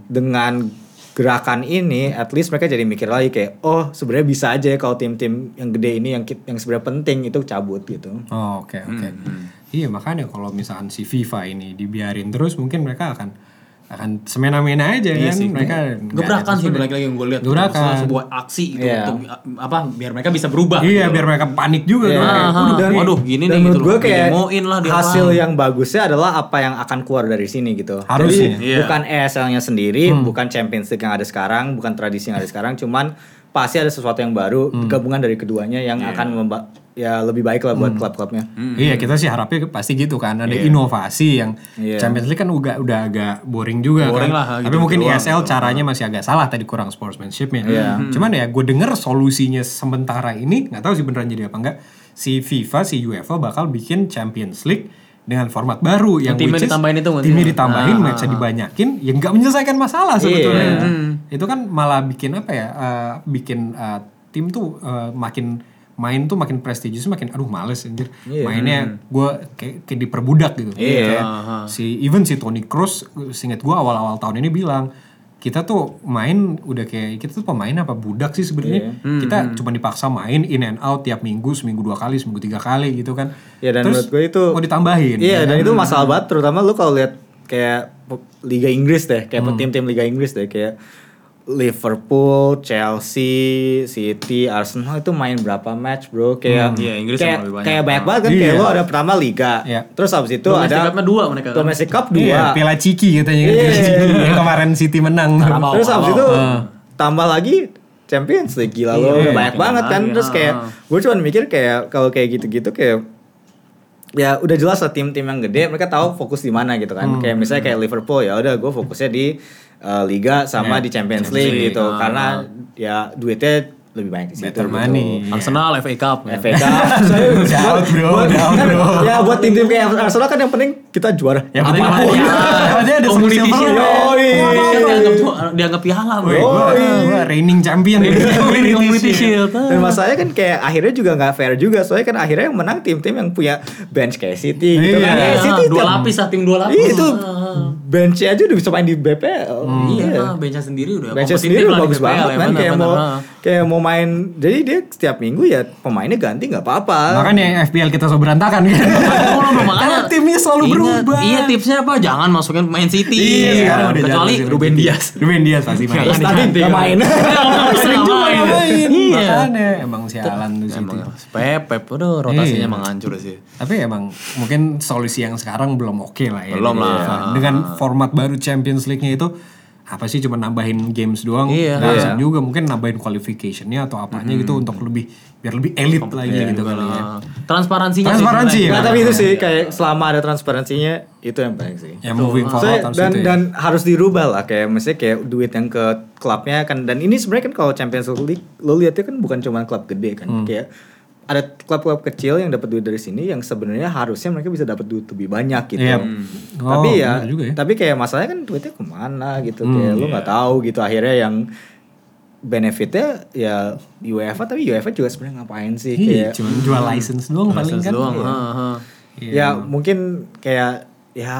dengan gerakan ini at least mereka jadi mikir lagi kayak oh sebenarnya bisa aja ya kalau tim-tim yang gede ini yang ki- yang sebenarnya penting itu cabut gitu
Oh, oke oke.
hmm.
Iya makanya kalau misalkan si FIFA ini dibiarin terus mungkin mereka akan akan semena-mena aja
Iya
kan mereka nggak ada
gebrakan sih
sesuatu.
lagi-lagi yang gue lihat gitu.
Gebrakan.
Maksudnya sebuah aksi gitu
Iya.
untuk apa biar mereka bisa berubah
Iya
gitu.
biar mereka panik juga
Iya.
kan.
Ah,
Kayak,
ah.
"Waduh,
Dan-
nih,
waduh gini nih
Dan
gitu
menurut gue
loh.
kayak
Didemoin lah dia kan.
hasil
apa.
yang bagusnya adalah apa yang akan keluar dari sini gitu.
Harusnya.
Jadi
Iya.
bukan ESL-nya sendiri, bukan Champions League yang ada sekarang, bukan tradisi yang ada sekarang, cuman pasti ada sesuatu yang baru, gabungan dari keduanya yang
Iya.
akan memba- ya lebih baik lah buat klub-klubnya.
Hmm.
Iya kita sih harapnya pasti gitu kan ada inovasi yang
Iya.
Champions League kan udah udah agak boring juga kan.
Boring lah,
Tapi
gitu
mungkin
doang Iya.
ESL caranya masih agak salah tadi kurang sportsmanshipnya. Cuman ya gue denger solusinya sementara ini nggak tahu sih beneran jadi apa enggak si FIFA si UEFA bakal bikin Champions League dengan format baru yang
Timnya
which is
ditambahin itu nggak sih?
timnya ditambahin
Ah,
matchnya dibanyakin ya nggak menyelesaikan masalah
Nah, Iya.
sebetulnya itu kan malah bikin apa ya eh, bikin eh, tim tuh eh, makin main tuh makin prestisius makin aduh males anjir
Iya.
mainnya gue kayak, kayak diperbudak gitu
Iya.
Kayak si even si Tony Kroos singkat gue awal-awal tahun ini bilang kita tuh main udah kayak kita tuh pemain apa budak sih
Iya.
sebenarnya kita cuma dipaksa main in and out tiap minggu seminggu dua kali seminggu tiga kali gitu kan
Iya, dan menurut gue itu-
mau ditambahin ya kan?
Iya,
ya kan?
dan itu masalah banget terutama lu kalau lihat kayak pe- Liga Inggris deh, kayak
Hmm.
tim-tim Liga Inggris deh kayak Liverpool, Chelsea, City, Arsenal itu main berapa match, Bro?
Hmm.
Kayak
Iya, Inggris yang
kayak,
lebih banyak.
kayak banyak banget kan
Iya.
kayak lu ada pertama liga.
Iya.
Terus habis itu
Domestic
ada
Cup-nya dua mereka kan?
Domestic Cup 2.
Iya, Piala Ciki katanya kan. Piala
Iya.
Ciki. Yang kemarin City menang.
Karabau.
Terus habis
Oh,
itu tambah lagi Champions League gila lo
Iya,
udah banyak
makin
banget kan
lagi,
terus kayak
ah.
gue cuman mikir kayak kalau kayak gitu-gitu kayak ya udah jelas lah tim-tim yang gede mereka tahu fokus di mana gitu
Hmm.
kan kayak misalnya kayak Liverpool ya udah gue fokusnya di eh, Liga sama
Iya,
di
Champions
Champions League,
League,
gitu
ah.
karena ya duitnya lebih banyak di situ
Better
gitu.
money.
Arsenal FA Cup ya.
FA Cup, saya-
Udah out, bro.
buat-
Udah out,
*laughs*
bro.
ya buat tim-tim kayak Arsenal kan yang penting kita juara.
Yang
Apa
penting
lah,
apapun.
ya.
Maksudnya ada
Community
silver
shield.
silver.
Yoi.
Community shield dianggap dianggap piala bro.
Oh,
Woi, gua-
iya.
gua reigning champion.
Community Shield.
Dan masalahnya kan kayak akhirnya juga nggak fair juga soalnya kan akhirnya yang menang tim-tim yang punya bench kayak City gitu kan.
Iya,
Eh,
Ah,
City
dua
tiap-
lapis lah tim dua lapis.
Iya itu
Ah.
bench aja udah bisa main di BPL.
Iya, ah, benchnya sendiri udah
Bench
kompetitif
sendiri
lah di
bagus
PPL,
banget
ya,
kan
benar,
kayak
benar,
mau
ah.
kayak mau main. Jadi dia setiap minggu ya pemainnya ganti nggak apa-apa.
Makanya yang FPL kita so berantakan kan. *laughs*
Tolong dong, makanya
Karena timnya selalu
ingat,
berubah.
Iya tipsnya apa? Jangan masukin main City.
Iya, sekarang udah
kecuali
jalan sih,
Ruben Dias.
Ruben Dias pasti main.
Jangan
Terus tadi
diganti,
nggak
kan?
main.
*laughs*
Sering juga
Main.
main. Iya.
Makanya emang sialan tuh City.
Emang Pep, udah rotasinya
Iya.
emang hancur sih.
Tapi emang mungkin solusi yang sekarang belum oke lah ya.
Belum
Jadi,
lah.
ya, Dengan format baru Champions League-nya itu apa sih cuma nambahin games doang
Iya.
nggak
Iya.
asik juga mungkin nambahin qualification-nya atau apanya gitu untuk lebih biar lebih elit lagi gitu kali ya.
Ah, Transparansinya. sih
Transparansi
sebenarnya.
ya.
Nah tapi itu sih kayak selama ada transparansinya itu yang penting sih.
Ya moving forward
Saya-
harus
dan
itu ya.
dan harus dirubah lah kayak misalnya kayak duit yang ke klubnya kan dan ini sebenarnya kan kalau Champions League lo lihatnya kan bukan cuma klub gede kan kayak ada klub-klub kecil yang dapat duit dari sini yang sebenarnya harusnya mereka bisa dapat duit lebih banyak gitu.
Iya. Hmm. Oh,
tapi ya,
benar juga ya.
tapi kayak masalahnya kan duitnya kemana gitu kayak lo nggak tahu gitu akhirnya yang benefitnya ya UEFA tapi UEFA juga sebenarnya ngapain sih
Iya,
kayak
cuma jual license doang paling
License
kan.
doang.
Iya.
ah, ah.
Iya.
ya mungkin kayak ya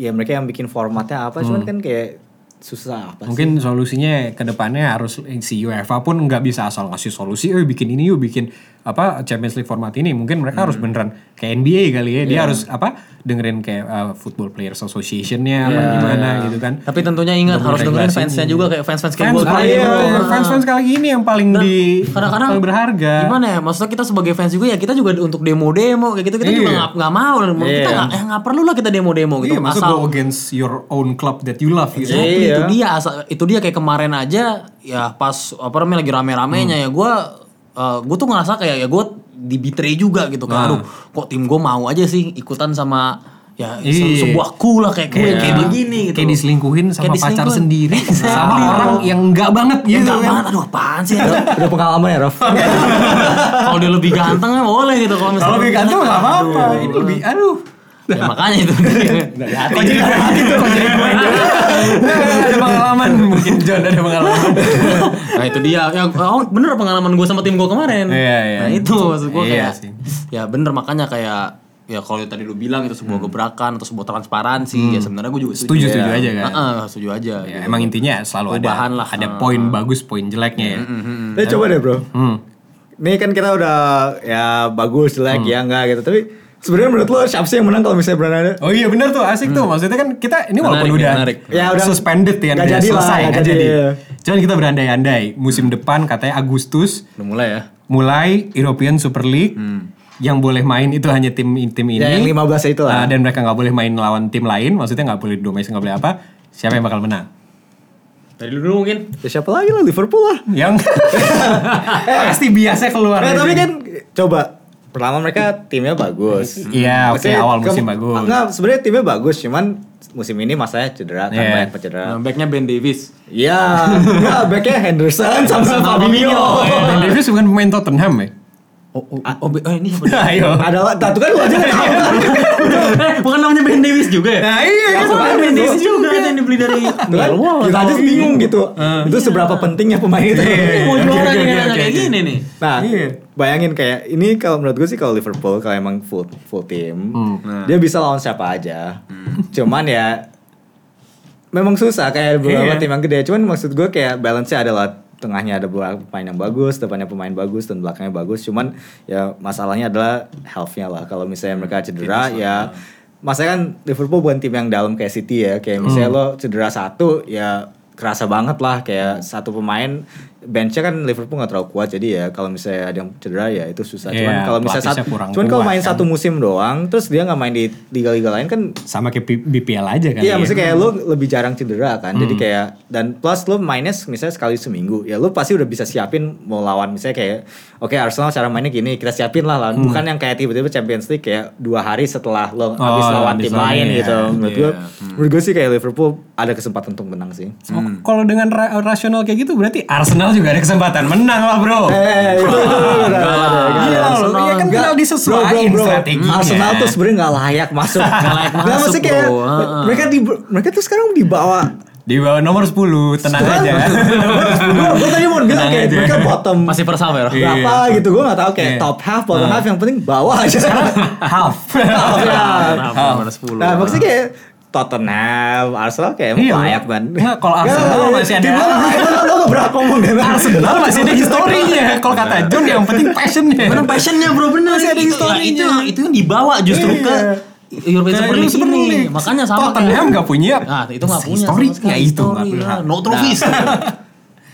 ya mereka yang bikin formatnya apa
Hmm.
cuman kan kayak susah apa sih?
Mungkin solusinya ke depannya harus si UEFA pun nggak bisa asal ngasih solusi, eh bikin ini yuk, bikin apa Champions League format ini. Mungkin mereka harus
Hmm.
beneran kayak NBA kali ya, dia
Iya.
harus apa dengerin kayak uh, Football Players Association-nya apa gimana gitu kan.
Iya. Tapi tentunya ingat harus dengerin
regulasinya.
fansnya juga kayak fans-fans kayak
Fans, kan?
gue.
kali
iya,
ini,
iya.
fans-fans kali ini yang paling di
kadang-kadang
paling berharga.
Gimana ya? Maksudnya kita sebagai fans juga ya kita juga untuk demo-demo kayak gitu kita juga
Iya.
nggak nggak mau. Kita
Iya.
nggak eh, nggak perlu lah kita demo-demo gitu.
Iya, masa go against your own club that you love gitu.
Exactly,
Iya.
Hmm.
itu dia asal- itu dia kayak kemarin aja ya pas apa namanya lagi rame-ramenya ya gua gue tuh ngerasa kayak ya gue di betray juga gitu kan.
Nah.
Aduh, kok tim gue mau aja sih ikutan sama ya se-
Iya.
sebuah ku lah kayak gue
Iya.
kayak begini gitu.
Kayak diselingkuhin sama
Kayak
pacar
diselingkuhin.
sendiri sama
Iya.
orang yang enggak banget
Ya,
gitu.
enggak
kan.
banget, aduh apaan sih
Udah,
*laughs*
udah pengalaman ya, Rof?
Kalau dia lebih ganteng ya boleh gitu kalau misalnya
Kalau lebih ganteng nggak apa-apa.
Aduh.
Ini lebih aduh.
Ya, makanya itu.
Kok jadi ada hati tuh, kok jadi gue yang jadi? ada pengalaman mungkin John ada pengalaman.
nah itu dia ya, oh bener pengalaman gue sama tim gue kemarin
Iya, iya.
nah itu maksud gue
Iya
kayak
sih.
ya bener makanya kayak ya kalau tadi lu bilang itu sebuah gebrakan atau sebuah transparansi ya sebenarnya gue juga
Hmm. Setuju
setuju
setuju aja kan.
Heeh, setuju aja
Ya,
gitu.
emang intinya selalu ada
Perubahan lah.
ada poin bagus, poin jeleknya ya.
Nah, coba deh, Bro.
Hmm.
Nih kan kita udah ya bagus jelek
Hmm.
ya enggak gitu. Tapi sebenarnya menurut lo siapa sih yang menang kalau misalnya berada?
Oh iya benar tuh asik tuh maksudnya kan kita ini walaupun
Menarik,
udah,
menarik.
Ya, udah
suspended ya
nggak
udah
jadi lah,
selesai
nggak
nggak
jadi,
jadi.
iya.
Cuman kita berandai-andai musim depan katanya Agustus
udah mulai ya
mulai European Super League yang boleh main itu hanya tim tim ini
Ya, yang 15 itu
Ah,
lah.
dan mereka nggak boleh main lawan tim lain maksudnya nggak boleh domestik nggak boleh apa siapa yang bakal menang
dari dulu mungkin
Ya, siapa lagi lah Liverpool lah.
yang *laughs* Eh, pasti biasa keluar
Nah,
dari
tapi
sini.
kan coba pertama mereka timnya bagus.
Iya, oke,
Maksudnya
awal
ke-
musim bagus.
Enggak, sebenarnya timnya bagus, cuman musim ini masalahnya cedera kan
Iya.
banyak cedera.
nah, backnya Ben Davis
Iya, enggak backnya Henderson sama Fabinho.
Dan Davis bukan pemain Tottenham ya
oh, oh, oh, oh, ini siapa?
ayo
Adalah tatu kan lu aja nggak tahu.
eh, bukan namanya Ben Davis juga ya
nah iya kan?
Ya, soalnya Ben Davis juga yang dibeli dari
Iya,
Tuh kan,
Millwall.
kita aja Iya,
Tahu.
bingung gitu. Itu seberapa pentingnya pemain itu.
Mau
Oke,
juara
iya, oke,
nih,
oke,
kayak
oke.
gini nih
Nah,
Iya.
bayangin kayak ini kalau menurut gue sih kalau Liverpool kalau emang full full tim, dia bisa lawan siapa aja. Cuman ya memang susah kayak beberapa
Iya.
tim yang gede. Cuman maksud gue kayak balance-nya adalah tengahnya ada beberapa pemain yang bagus, depannya pemain bagus dan belakangnya bagus. Cuman ya masalahnya adalah health-nya lah. Kalau misalnya mereka cedera ya Masalahnya kan Liverpool bukan tim yang dalam kayak City ya. Kayak misalnya lo cedera satu ya kerasa banget lah kayak satu pemain benchnya kan Liverpool nggak terlalu kuat jadi ya kalau misalnya ada yang cedera ya itu susah cuman
Iya,
kalau misalnya
pelatihnya
satu
kurang
cuman kalau
kuat
main
kan.
satu musim doang terus dia nggak main di liga-liga lain kan
sama kayak P- BPL aja kan
Iya, maksudnya kayak lo lebih jarang cedera kan.
Hmm.
Jadi kayak dan plus lo mainnya misalnya sekali seminggu, ya lo pasti udah bisa siapin mau lawan misalnya kayak oke Arsenal cara mainnya gini, kita siapin lah
Hmm.
lawan. Bukan yang kayak tiba-tiba Champions League kayak dua hari setelah lo habis lawan
habis
tim
lawan,
lain
iya.
gitu. Menurut gue, menurut gue sih kayak Liverpool ada kesempatan untuk menang sih.
Oh, Kalau dengan ra- rasional kayak gitu berarti Arsenal juga ada kesempatan menang lah bro.
*laughs* Eh, itu
Iya loh, iya kan
Nggak,
kalau disesuaikan strateginya.
Arsenal tuh sebenarnya nggak layak masuk. Nggak
layak
Nggak,
masuk,
Nah, maksudnya kayak
bro. Heeh.
mereka di mereka tuh sekarang dibawa
di bawah nomor 10 tenang Nah,
*laughs*
aja.
gue tadi mau bilang
Tenang
kayak
aja.
mereka bottom
masih bersama ya Roh?
berapa
Iya.
gitu gue nggak tahu kayak
Iya.
top half bottom half yang penting bawah aja
Half.
Half, ya.
Kenapa nomor 10?
*laughs* nah maksudnya kayak Tottenham Arsenal kayak
Iya.
emang layak eh, ban
Nggak, kalau Arsenal masih ada- *laughs*
lo nggak berapa ngomong deh
*laughs* Arsenal masih ada historinya. Kalau kata John yang penting passionnya.
*laughs* Bener passionnya bro bener
Masih ada
Nah, Itu-
historinya.
itu, yang- itu yang dibawa justru
Iya.
ke European
Kayak
Super
dulu
League
Super
ini.
League.
Makanya sama
Tottenham
kayak-
nggak punya Ya, iya.
Nah itu gak punya
historinya,
sama sekali Nah.
itu nggak
historinya.
berhak.
No *laughs* trophies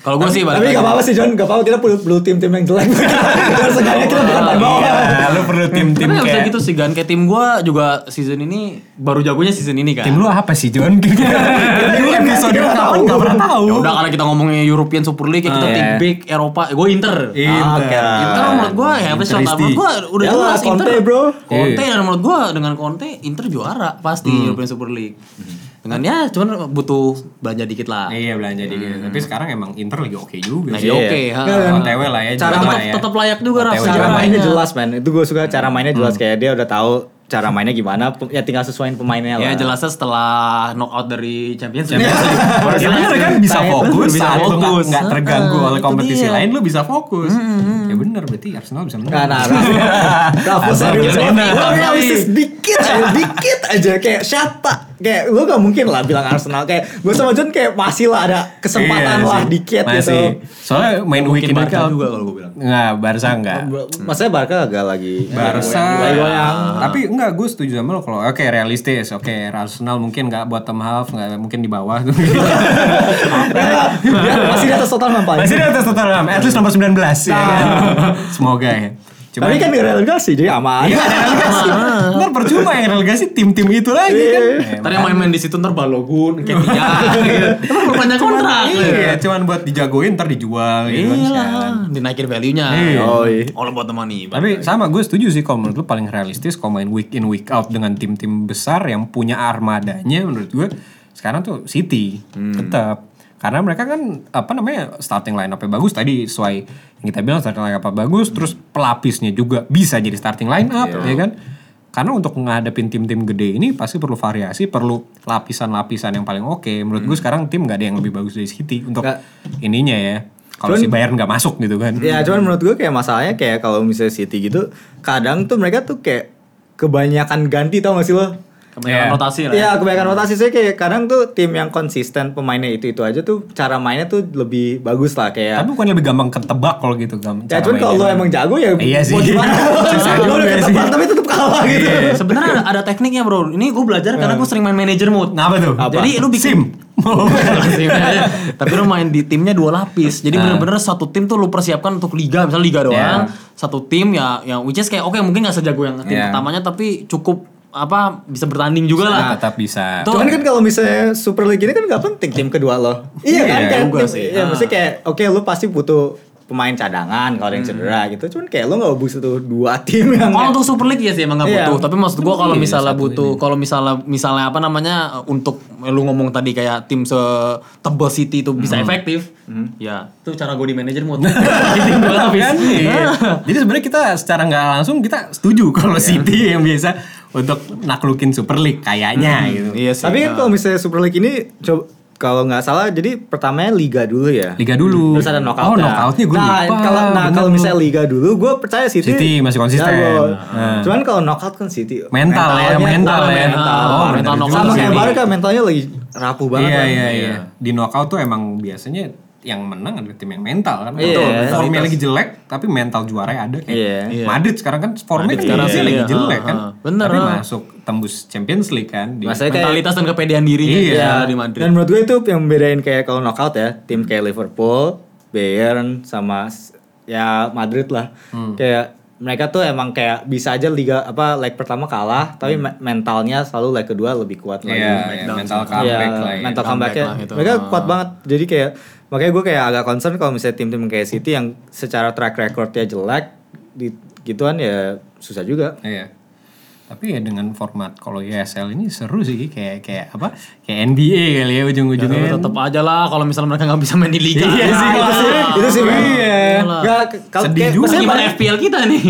Kalau gue sih
tapi
balik
gak apa-apa sih John gak apa-apa kita perlu, perlu tim-tim yang jelek *laughs* biar seenggaknya kita berapa bawah
Iya, lu perlu tim-tim
Karena bisa
kayak
gitu sih Gan Kayak tim gue juga season ini Baru jagonya season ini kan
Tim lu apa sih
*laughs*
John?
Iya,
Kita episode
nggak
kapan
tahu.
nggak pernah tahu.
Ya udah karena kita ngomongin European Super League ya kita
Ah,
tim
iya.
big Eropa, gue Inter.
Oke.
Inter menurut gue ya apa sih?
Interisti.
Menurut gue udah
Nah, Yalah,
jelas Inter.
Conte, bro.
Conte dan menurut gue dengan Conte Inter juara pasti European Super League. Dengan ya cuman butuh belanja dikit lah.
Iya belanja dikit. Tapi sekarang emang Inter lagi oke juga.
Lagi
sih.
oke.
Iya.
ha.
OTW lah ya.
Cara
juara
tetap,
ya.
tetap layak juga
OTW
rasa.
cara
juara.
mainnya jelas man itu gue suka cara mainnya jelas kayak dia udah tahu cara mainnya gimana pem- ya tinggal sesuaiin pemainnya
Ya
lah
jelasnya setelah knockout dari Champions League. Iya. Baru
Ya
jelas
bener
Iya,
kan bisa
Saya-
fokus
bisa
saat lu nggak
fokus.
nggak terganggu
Ah,
oleh
itu
kompetisi
dia.
lain lu bisa fokus.
Hmm,
Ya bener berarti Arsenal bisa menang. Iya
Nah, nah,
*laughs*
Rafa, Rafa
Asal
serius
jangan
banget.
enak.
Lo realistis dikit aja, dikit aja kayak siapa? Kayak lo gak mungkin lah bilang Arsenal kayak gue sama John kayak masih lah ada kesempatan
Iya
lah
sih.
dikit
Masih.
gitu.
Soalnya main
Mungkin
weekend
Barca
itu-
juga kalau gue bilang.
Nggak, Barca enggak.
Maksudnya Barca agak lagi
Barca.
lagi goyang.
Tapi enggak gue setuju sama lo kalau oke realistis, oke Arsenal mungkin enggak bottom half, enggak mungkin di
*laughs*
*laughs* bawah.
Dia masih di atas total nampaknya.
Masih di atas Tottenham, at least nomor 19 ya kan? Semoga ya. Cuma *laughs*
Tapi kan di relegasi jadi aman. *laughs*
Iya, ada relegasi. Ntar percuma Cuma yang relegasi tim-tim itu lagi kan.
Ntar yang main-main di situ ntar Balogun, Ketia, gitu. Emang perpanjang kontrak.
Iya, cuman buat dijagoin ntar dijual gitu kan.
Iya
sialan.
lah, dinaikin value-nya.
Iya.
Oh, iya.
All about the money. Bang.
Tapi sama gue setuju sih kalau menurut lu paling realistis kalau main week in week out dengan tim-tim besar yang punya armadanya menurut gue sekarang tuh City tetap karena mereka kan apa namanya starting line up-nya bagus tadi sesuai yang kita bilang starting line up bagus terus pelapisnya juga bisa jadi starting line up ya kan karena untuk ngadepin tim-tim gede ini pasti perlu variasi perlu lapisan-lapisan yang paling oke menurut gue sekarang tim nggak ada yang lebih bagus dari City untuk
Nggak.
ininya ya kalau si Bayern nggak masuk gitu kan
Ya cuman menurut gue kayak masalahnya kayak kalau misalnya City gitu kadang tuh mereka tuh kayak kebanyakan ganti tau gak sih lo?
Iya.
Kebanyakan rotasi lah. ya.
Iya kebanyakan rotasi saya kayak kadang tuh tim yang konsisten pemainnya itu itu aja tuh cara mainnya tuh lebih bagus lah kayak.
Tapi bukan lebih gampang ketebak kalau gitu gampang.
Ya cuman kalau lo emang jago ya
Iya sih.
mau gimana?
Susah juga
Lo udah
sih. Iya.
ketebak tapi tetap kalah gitu.
Sebenarnya ada, ada tekniknya bro. Ini gue belajar karena gue sering main manager mode.
Hmm. Apa tuh?
Apa?
Jadi lu bikin
SIM.
*laughs* Tapi lu main di timnya dua lapis. Jadi bener-bener satu tim tuh lu persiapkan untuk liga, misalnya liga doang.
Yeah.
Satu tim ya yang which is kayak oke mungkin nggak sejago yang tim
Yeah.
pertamanya tapi cukup apa bisa bertanding juga
Nah,
lah.
tetap
*laughs*
bisa.
Tuh.
Cuman kan kalau misalnya Super League ini kan gak penting tim kedua lo. Iya kan?
Iya,
kan?
juga
Tim-
sih.
Ya,
Ah.
maksudnya kayak oke lo pasti butuh pemain cadangan kalau ada
Hmm.
yang cedera gitu. Cuman kayak lo gak butuh dua *laughs* tim yang
Kalau untuk Super League ya sih emang nggak
Iya.
butuh. Tapi maksud gua kalau
Iya,
misalnya
satu
butuh, kalau misalnya misalnya apa namanya uh, untuk lu ngomong tadi kayak tim setebal City itu bisa efektif, ya *laughs* itu cara gue di manajer mode. Tim gua habis.
Kan? Iya. Jadi sebenarnya kita secara nggak langsung kita setuju kalau
Iya.
City yang biasa untuk naklukin Super League kayaknya gitu.
Iya sih.
Tapi kan kalau misalnya Super League ini coba kalau nggak salah jadi pertamanya liga dulu ya.
Liga dulu.
Terus ada
Oh,
knockout.
knockoutnya gue
nah,
lupa.
Kalau nah
Bener
kalau
lu.
misalnya liga dulu gue percaya City.
City masih konsisten.
jago.
Nah.
Cuman kalau knockout kan City.
mental ya,
mentalnya-
mental
mental,
ya.
mental.
Oh,
Mental
mental
knockout
juga
Sama
sih.
kayak
City.
Barca mentalnya lagi rapuh banget.
Iya
kan.
iya iya. Di knockout tuh emang biasanya yang menang adalah tim yang mental kan.
Iya,
Betul.
mentalitas.
Formnya lagi jelek tapi mental juaranya ada kayak.
Iya.
Madrid sekarang kan formnya
Madrid
kan
sekarang
Indonesia
sih,
lagi
iya.
jelek kan.
Ah,
Ha, ha. Bener,
Tapi
ha.
masuk tembus Champions League kan di
Maksudnya kayak
mentalitas dan kepedean dirinya
Iya.
dia di Madrid.
Dan menurut gue itu yang membedain kayak kalau knockout ya, tim kayak Liverpool, Bayern sama s- ya Madrid lah.
Hmm.
Kayak mereka tuh emang kayak bisa aja liga apa leg pertama kalah, tapi me- mentalnya selalu leg kedua lebih kuat lagi.
Hmm. Iya, iya, mental comeback
Iya,
lah Ah. ya.
mental
Comeback
comeback-nya.
lah gitu.
Mereka kuat banget. Jadi kayak makanya gue kayak agak concern kalau misalnya tim-tim kayak City yang secara track recordnya jelek di gituan ya susah juga.
Iya. Tapi ya dengan format kalau ESL ini seru sih kayak kayak apa? Kayak NBA kali ya ujung-ujungnya.
Iya,
kan. *laughs*
tetap aja lah kalau misalnya mereka nggak bisa main di liga.
Iya sih,
Ah,
itu sih-
itu sih
Iya.
Nggak, kalau
Sedih
kayak-
juga.
maksudnya
Gimana FPL kita nih?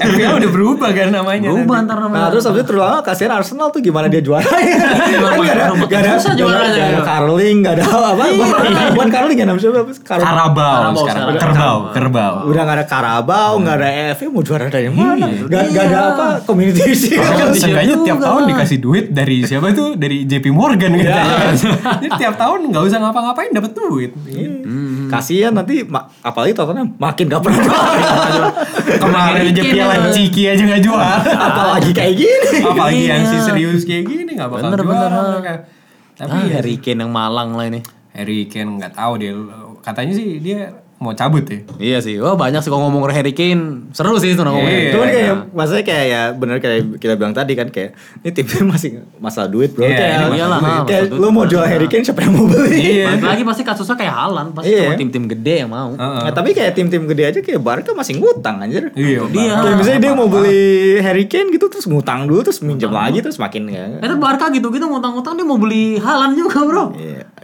FPL udah berubah kan namanya.
Berubah
nanti.
ntar
Nah,
namanya.
terus abis itu terutama kasihan Arsenal tuh gimana dia juara
Iya,
ya.
Gimana
Kan gak ada,
rumah-
gak ada,
susah
gak ada,
juaranya,
gak ada
ya.
Carling, gak
Iya.
ada apa. Bukan- Bukan Carling ya namanya siapa? Apa sih? Carabao.
Karabau
Karabau
sekarang.
sekarang.
Kerbau, kerbau.
Udah gak ada Karabau, gak ada EFE, mau juara dari
Iya,
mana? Gak, gak ada apa, community sih.
Kalau
Iya
seenggaknya
juga.
tiap tahun dikasih duit dari siapa tuh? Dari JP Morgan gitu.
Iya.
Jadi tiap tahun nggak usah ngapa-ngapain dapat duit.
Iya.
Hmm,
Kasihan nanti, ma- apalagi tontonnya makin gak pernah
*laughs* Iya.
juara.
Kemarin aja
Bikin,
piala
ya.
Ciki aja nggak
*laughs*
jual.
Apalagi kayak gini.
Apalagi
Iya.
yang si serius kayak gini nggak bakal
Bener,
juara
bener.
mereka. Tapi
Ah,
ya,
Harry Kane yang malang lah ini.
Harry Kane nggak tahu deh. Katanya sih dia mau cabut ya.
Iya sih, oh banyak sih kalau ngomong Harry Kane seru sih itu ngomongnya.
Iya.
Cuman kayak maksudnya kayak ya bener kayak kita bilang tadi kan kayak ini timnya masih masalah duit bro
Iya, ini
kayak,
masalah Iya,
Iyalah, duit.
kayak
masalah
lu mau jual Harry Kane siapa yang mau beli?
Balik lagi pasti kasusnya kayak Halan, pasti
Iya.
cuma tim-tim gede yang mau.
Heeh.
Nah, tapi kayak tim-tim gede aja kayak Barca masih ngutang anjir.
Iya.
Dia.
Bang.
Kayak misalnya dia mau beli Harry Kane gitu terus ngutang dulu terus minjem lagi terus makin ya.
Eh, Itu Barca gitu-gitu ngutang-ngutang dia mau beli Halan juga, Bro.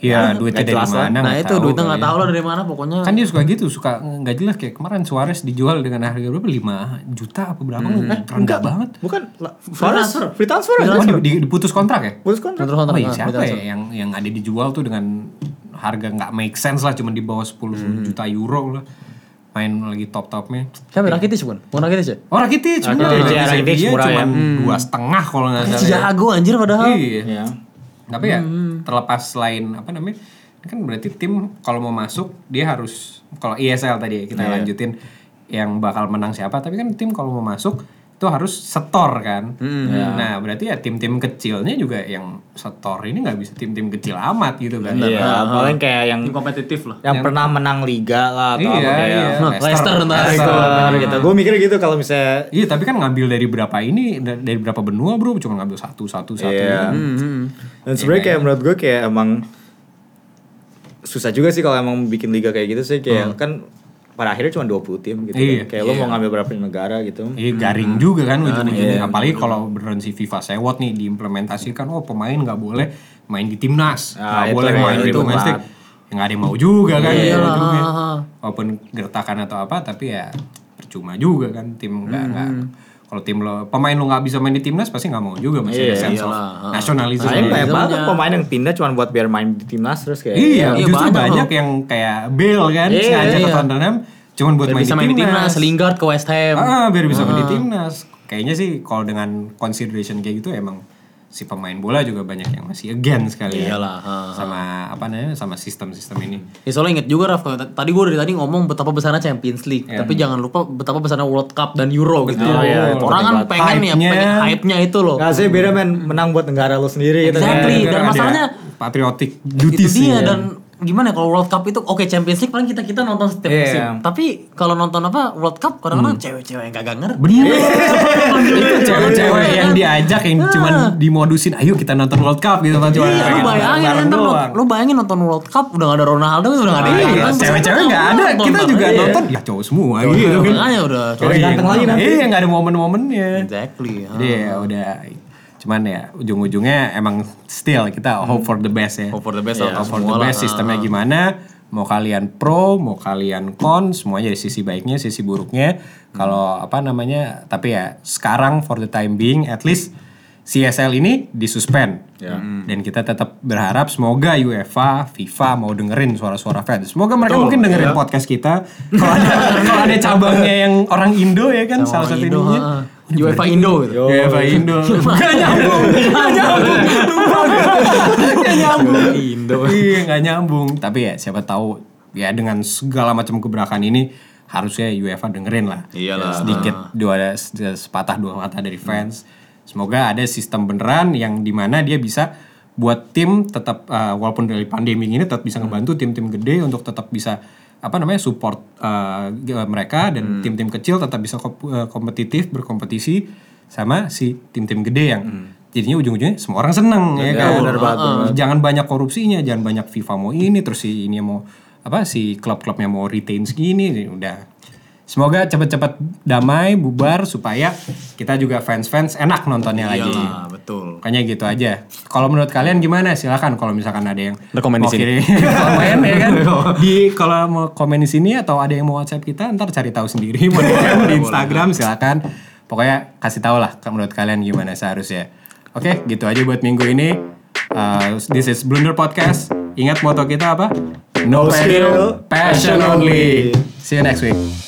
Iya, duitnya
Nggak
dari
jelas
mana?
lah.
Nah,
nggak
itu
tahu
duitnya nggak
kali ya.
tahu lah dari mana pokoknya.
Kan dia suka gitu, suka nggak jelas kayak kemarin Suarez dijual dengan harga berapa? 5 juta apa berapa?
Hmm.
Kan rendah banget.
Bukan lah,
Free transfer.
Suarez free transfer aja.
Oh, di- di- diputus kontrak ya?
Putus kontrak.
Terus
Oh
kontrak,
iya,
nah,
siapa
kontrak.
ya yang yang ada dijual tuh dengan harga nggak make sense lah, cuma di bawah 10 juta euro lah. Main lagi top topnya.
Siapa Rakitic bukan? Bukan Rakitic ya?
Oh Rakitic, cuma
Rakitic, ya, Rakitic murah ya.
cuma dua setengah kalau nggak
Iya.
salah. ya.
Jago anjir padahal.
Iya.
Ya.
Tapi ya terlepas lain apa namanya kan berarti tim kalau mau masuk dia E Iya. harus kalau ESL tadi ya, kita lanjutin yang bakal menang siapa tapi kan tim kalau mau masuk itu harus setor kan. Nah, berarti ya tim-tim kecilnya juga yang setor ini nggak bisa tim-tim kecil amat gitu kan.
Iya, paling kayak yang
Tim kompetitif lah.
yang pernah menang liga lah
Iya,
atau apa kayak
iya.
Nah, Leicester ntar
Leicester.
itu.
Nah, gitu. Gue mikir gitu kalau misalnya
Iya, tapi kan ngambil dari berapa ini da- dari berapa benua, Bro? Cuma ngambil satu satu satu.
Iya.
Hmm.
gitu.
Dan sebenarnya kayak menurut gue kayak emang susah juga sih kalau emang bikin liga kayak gitu sih kayak kan pada akhirnya cuma 20 tim gitu.
Iya,
kan. Kayak lo mau ngambil berapa negara gitu.
Iya, garing
Hmm.
juga kan ujung-ujungnya.
iya.
Apalagi kalau beneran si FIFA sewot nih diimplementasikan, oh pemain nggak boleh main di timnas, nggak
Ah, itu
boleh
ya,
main di
itu
domestik.
banget.
Ya nggak ada yang mau juga kan.
Iya.
ujung-ujungnya. Walaupun gertakan atau apa, tapi ya percuma juga kan tim
Hmm.
nggak nggak. Kalau tim lo pemain lo nggak bisa main di timnas pasti nggak mau juga masih ada
Iya,
sense of
iyalah, ah.
nasionalisme.
Soalnya banyak
iya.
banget
Iya.
pemain yang pindah cuma buat biar main di timnas terus kayak.
Iya,
Iya,
justru
banyak
banyak yang kayak Bale kan
Iya,
sengaja ke
iya.
Tottenham cuman buat
Biar
main
bisa
di
main di
timnas.
timnas, Lingard ke West Ham.
Ah, biar bisa main di timnas. Kayaknya sih kalau dengan consideration kayak gitu emang si pemain bola juga banyak yang masih against sekali ya.
Iyalah, ah, ha, ha.
Sama apa namanya? Sama sistem-sistem ini.
Ya soalnya inget juga Raf, kalau t- tadi gue dari tadi ngomong betapa besarnya Champions League, tapi jangan lupa betapa besarnya World Cup dan Euro gitu.
Iya. Betul.
ya, Orang kan
Betul.
pengen ya,
Hype-nya.
pengen hype-nya itu loh.
Gak sih Nah, beda men menang buat negara lo sendiri gitu.
Exactly.
kan.
Iya, dan
Ada
masalahnya-
patriotic
itu
duties
dia
ya.
dan gimana ya, kalau World Cup itu oke Champions League paling kita kita nonton setiap
Iya.
musim. Tapi kalau nonton apa World Cup kadang-kadang cewek-cewek yang gagak ngerti.
itu cewek-cewek yang diajak yang cuman dimodusin ayo kita nonton World Cup gitu kan cuma
Ah. Iya, lu
pengen
bayangin
bareng
ntar lu,
doang.
lu bayangin nonton World Cup udah gak ada Ronaldo udah gak ada
Iya,
yang nonton, terus
cewek-cewek
nonton,
nggak ada
nonton,
kita
nonton.
juga
Iya.
nonton ya cowok semua gitu kan
Makanya udah.
Cewek ganteng lagi nanti.
Iya, nggak ada momen-momennya.
Exactly. ha.
Jadi ya udah cuman ya ujung-ujungnya emang still kita hope for the best ya.
Hmm. Hope for the best
Iya, hope
atas
for the
semua lah. Ah.
best sistemnya gimana? Mau kalian pro, mau kalian con, semuanya dari sisi baiknya, sisi buruknya.
Hmm.
Kalau apa namanya? Tapi ya sekarang for the time being at least CSL ini disuspend.
Ya.
Dan kita tetap berharap semoga UEFA, FIFA mau dengerin suara-suara fans. Semoga mereka mungkin dengerin
Iya.
podcast kita. Kalau ada kalau ada cabangnya yang orang Indo ya kan salah
Orang
satu
Indo,
ininya.
ha.
kan.
UEFA Indo gitu.
UEFA Indo. Oh. *laughs* Gak nyambung, gak nyambung. Lupa gue. Gak nyambung.
Indo.
Iya, gak nyambung. Tapi ya siapa tahu ya dengan segala macam gebrakan ini harusnya UEFA dengerin lah. Ya,
Iyalah.
Sedikit dua se- sepatah dua kata dari fans. Semoga ada sistem beneran yang dimana dia bisa buat tim tetap eh, walaupun dari pandemi ini tetap bisa ngebantu tim-tim gede untuk tetap bisa apa namanya support eh, ge- mereka dan tim-tim kecil tetap bisa kop- eh, kompetitif berkompetisi sama si tim-tim gede yang jadinya ujung-ujungnya semua orang seneng ya kan
bener banget, bener
jangan banyak korupsinya jangan banyak FIFA mau ini terus si ini mau apa si klub-klubnya mau retain segini jadi udah semoga cepat-cepat damai bubar supaya kita juga fans-fans enak nontonnya lagi
Iyalah, betul.
Makanya gitu aja. Kalau menurut kalian gimana? Silakan kalau misalkan ada yang
Ntar komen di
mau kirim-
sini.
*laughs* komen ya kan. Di kalau mau komen di sini atau ada yang mau WhatsApp kita, ntar cari tahu sendiri. Mau di DM, di Instagram silakan. Pokoknya kasih tahu lah ke- menurut kalian gimana seharusnya. Oke, gitu aja buat minggu ini. Uh, this is Blunder Podcast. Ingat moto kita apa? No,
skill,
skill, passion only. See you next week.